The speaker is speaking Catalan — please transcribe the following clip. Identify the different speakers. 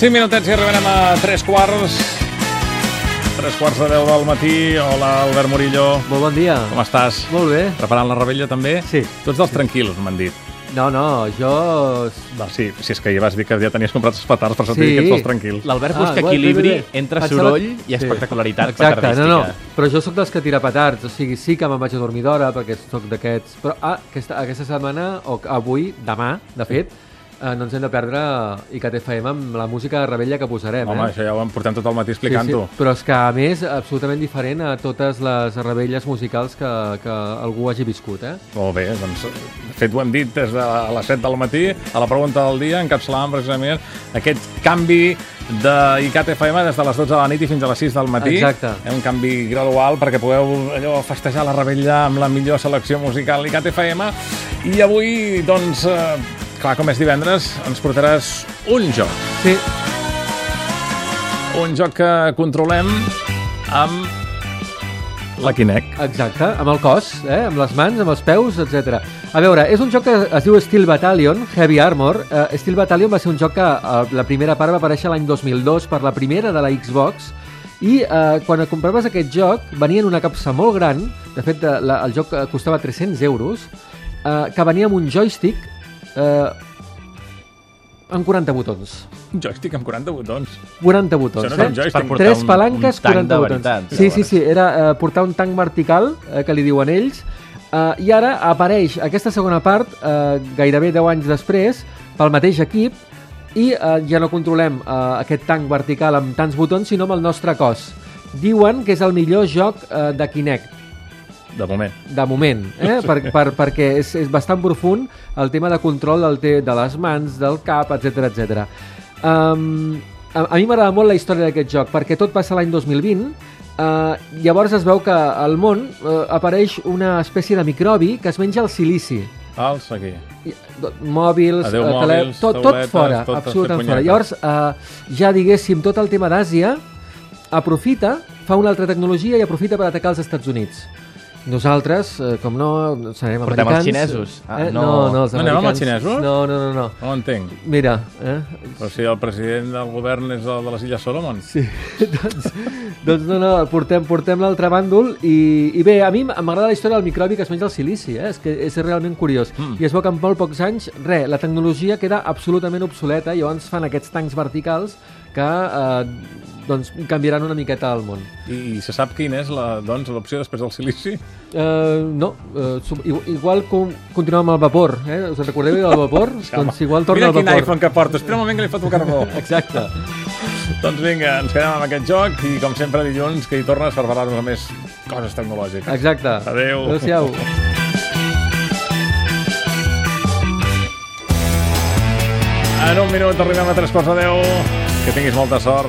Speaker 1: 5 minutets i arribarem a 3 quarts. 3 quarts de 10 del matí. Hola, Albert Murillo.
Speaker 2: Molt bon dia.
Speaker 1: Com estàs?
Speaker 2: Molt bé.
Speaker 1: Preparant la rebella, també?
Speaker 2: Sí.
Speaker 1: Tots dels tranquils, m'han dit.
Speaker 2: No, no, jo... Va.
Speaker 1: Sí, si és que ja vas dir que ja tenies comprats els petards, per això t'he dit que ets dels tranquils.
Speaker 3: L'Albert
Speaker 2: Ah,
Speaker 3: busca
Speaker 2: bé,
Speaker 3: equilibri
Speaker 2: bé, bé.
Speaker 3: entre
Speaker 2: Pensava-
Speaker 3: soroll i
Speaker 2: Sí.
Speaker 3: espectacularitat
Speaker 2: Exacte, no,
Speaker 3: petardística.
Speaker 2: no, però jo sóc dels que tira petards, o sigui, sí que me'n vaig a dormir d'hora perquè sóc d'aquests, però ah, aquesta, aquesta setmana, o avui, demà, de fet, eh, no ens hem de perdre eh, ICATFM amb la música rebella que posarem,
Speaker 1: Home,
Speaker 2: eh?
Speaker 1: això ja ho em portem tot el matí explicant-ho.
Speaker 2: Però és que, a més, absolutament diferent a totes les rebelles musicals que, que algú hagi viscut, eh?
Speaker 1: Molt bé, doncs, de fet, ho hem dit des de les 7 del matí, a la pregunta del dia, encapçalàvem precisament aquest canvi de ICAT FM des de les 12 de la nit i fins a les 6 del matí.
Speaker 2: Exacte.
Speaker 1: Eh, Un canvi gradual perquè pugueu allò, festejar la rebella amb la millor selecció musical ICAT FM. I avui, doncs, eh, clar, com és divendres, ens portaràs un joc.
Speaker 2: Sí,
Speaker 1: Un joc que controlem amb la Kinect.
Speaker 2: Exacte, amb el cos, eh? amb les mans, amb els peus, etc. A veure, és un joc que es diu Steel Battalion, Heavy Armor. Uh, Steel Battalion va ser un joc que uh, la primera part va aparèixer l'any 2002 per la primera de la Xbox i uh, quan compraves aquest joc venia en una capsa molt gran, de fet eh, la, el joc eh, costava 300 euros, uh, que venia amb un joystick uh, amb 40 botons.
Speaker 1: Un joystick amb 40 botons.
Speaker 2: 40 botons,
Speaker 1: Això no era un
Speaker 2: eh?
Speaker 1: joystick.
Speaker 3: portar
Speaker 2: Tres
Speaker 3: un-
Speaker 2: palanques,
Speaker 3: un tanc
Speaker 2: 40
Speaker 3: de
Speaker 2: botons.
Speaker 3: veritat.
Speaker 2: sí, sí, sí, era eh, portar un tanc vertical, eh, que li diuen ells, eh, i ara apareix aquesta segona part, eh, gairebé 10 anys després, pel mateix equip, i eh, ja no controlem eh, aquest tanc vertical amb tants botons, sinó amb el nostre cos. Diuen que és el millor joc eh, de Kinect,
Speaker 1: De moment.
Speaker 2: de moment, eh? per, per, perquè és, és bastant profund el tema de control del te, de les mans, del cap, etc etc. Um, a, a mi m'agrada molt la història d'aquest joc, perquè tot passa l'any 2020, Uh, llavors es veu que al món uh, apareix una espècie de microbi que es menja el silici.
Speaker 1: Alça aquí.
Speaker 2: I- do- mòbils,
Speaker 1: Adéu,
Speaker 2: eh,
Speaker 1: mòbils,
Speaker 2: tot, tot
Speaker 1: tauletes,
Speaker 2: fora,
Speaker 1: tot-
Speaker 2: absolutament
Speaker 1: tot
Speaker 2: fora. Llavors,
Speaker 1: punyetes.
Speaker 2: eh, ja diguéssim, tot el tema d'Àsia aprofita, fa una altra tecnologia i aprofita per atacar els Estats Units. Nosaltres, eh, com no, serem
Speaker 3: Portem els
Speaker 2: americans...
Speaker 3: xinesos. Ah,
Speaker 2: eh,
Speaker 3: no.
Speaker 2: no. no, els
Speaker 1: No anem amb els
Speaker 2: americans.
Speaker 1: xinesos?
Speaker 2: No, no, no, no.
Speaker 1: No ho entenc.
Speaker 2: Mira, eh?
Speaker 1: Però si el president del govern és el de les Illes Solomon.
Speaker 2: Sí, doncs, doncs no, no, portem, portem l'altre bàndol i, i bé, a mi m'agrada la història del microbi que es menja el silici, eh? és que és realment curiós.
Speaker 1: Hmm.
Speaker 2: Mm. I es veu que en molt pocs anys, re, la tecnologia queda absolutament obsoleta i llavors fan aquests tancs verticals que eh, doncs, canviaran una miqueta el món.
Speaker 1: I, I se sap quina és la, doncs, l'opció després del silici?
Speaker 2: Eh, no, eh, sub- i- igual com continuem amb el vapor, eh? us en recordeu del vapor? doncs igual torna
Speaker 1: Mira
Speaker 2: al
Speaker 1: quin
Speaker 2: vapor.
Speaker 1: iPhone que porta. Espera un moment que li foto el carbó.
Speaker 2: Exacte.
Speaker 1: doncs vinga, ens quedem amb aquest joc i, com sempre, dilluns, que hi tornes per parlar-nos de més coses tecnològiques.
Speaker 2: Exacte.
Speaker 1: Adéu.
Speaker 2: Adéu-siau.
Speaker 1: En un minut arribem a tres quarts de deu. Que tinguis molta sort.